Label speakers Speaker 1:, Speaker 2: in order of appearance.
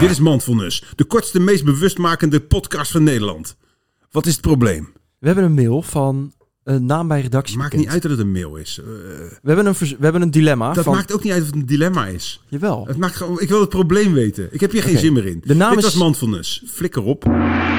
Speaker 1: Dit is Mindfulness, de kortste, meest bewustmakende podcast van Nederland. Wat is het probleem?
Speaker 2: We hebben een mail van eh, naam bij redactie.
Speaker 1: Maakt
Speaker 2: bekend.
Speaker 1: niet uit dat het een mail is. Eh,
Speaker 2: We hebben een, vers- we hebben een dilemma.
Speaker 1: dat
Speaker 2: van,
Speaker 1: maakt ook niet uit of het een dilemma is.
Speaker 2: Jawel.
Speaker 1: Het maakt gewoon, ik wil het probleem weten. Ik heb hier geen
Speaker 2: Oké.
Speaker 1: zin meer in.
Speaker 2: De naam
Speaker 1: Dit
Speaker 2: is-
Speaker 1: was Mindfulness. Flikker op.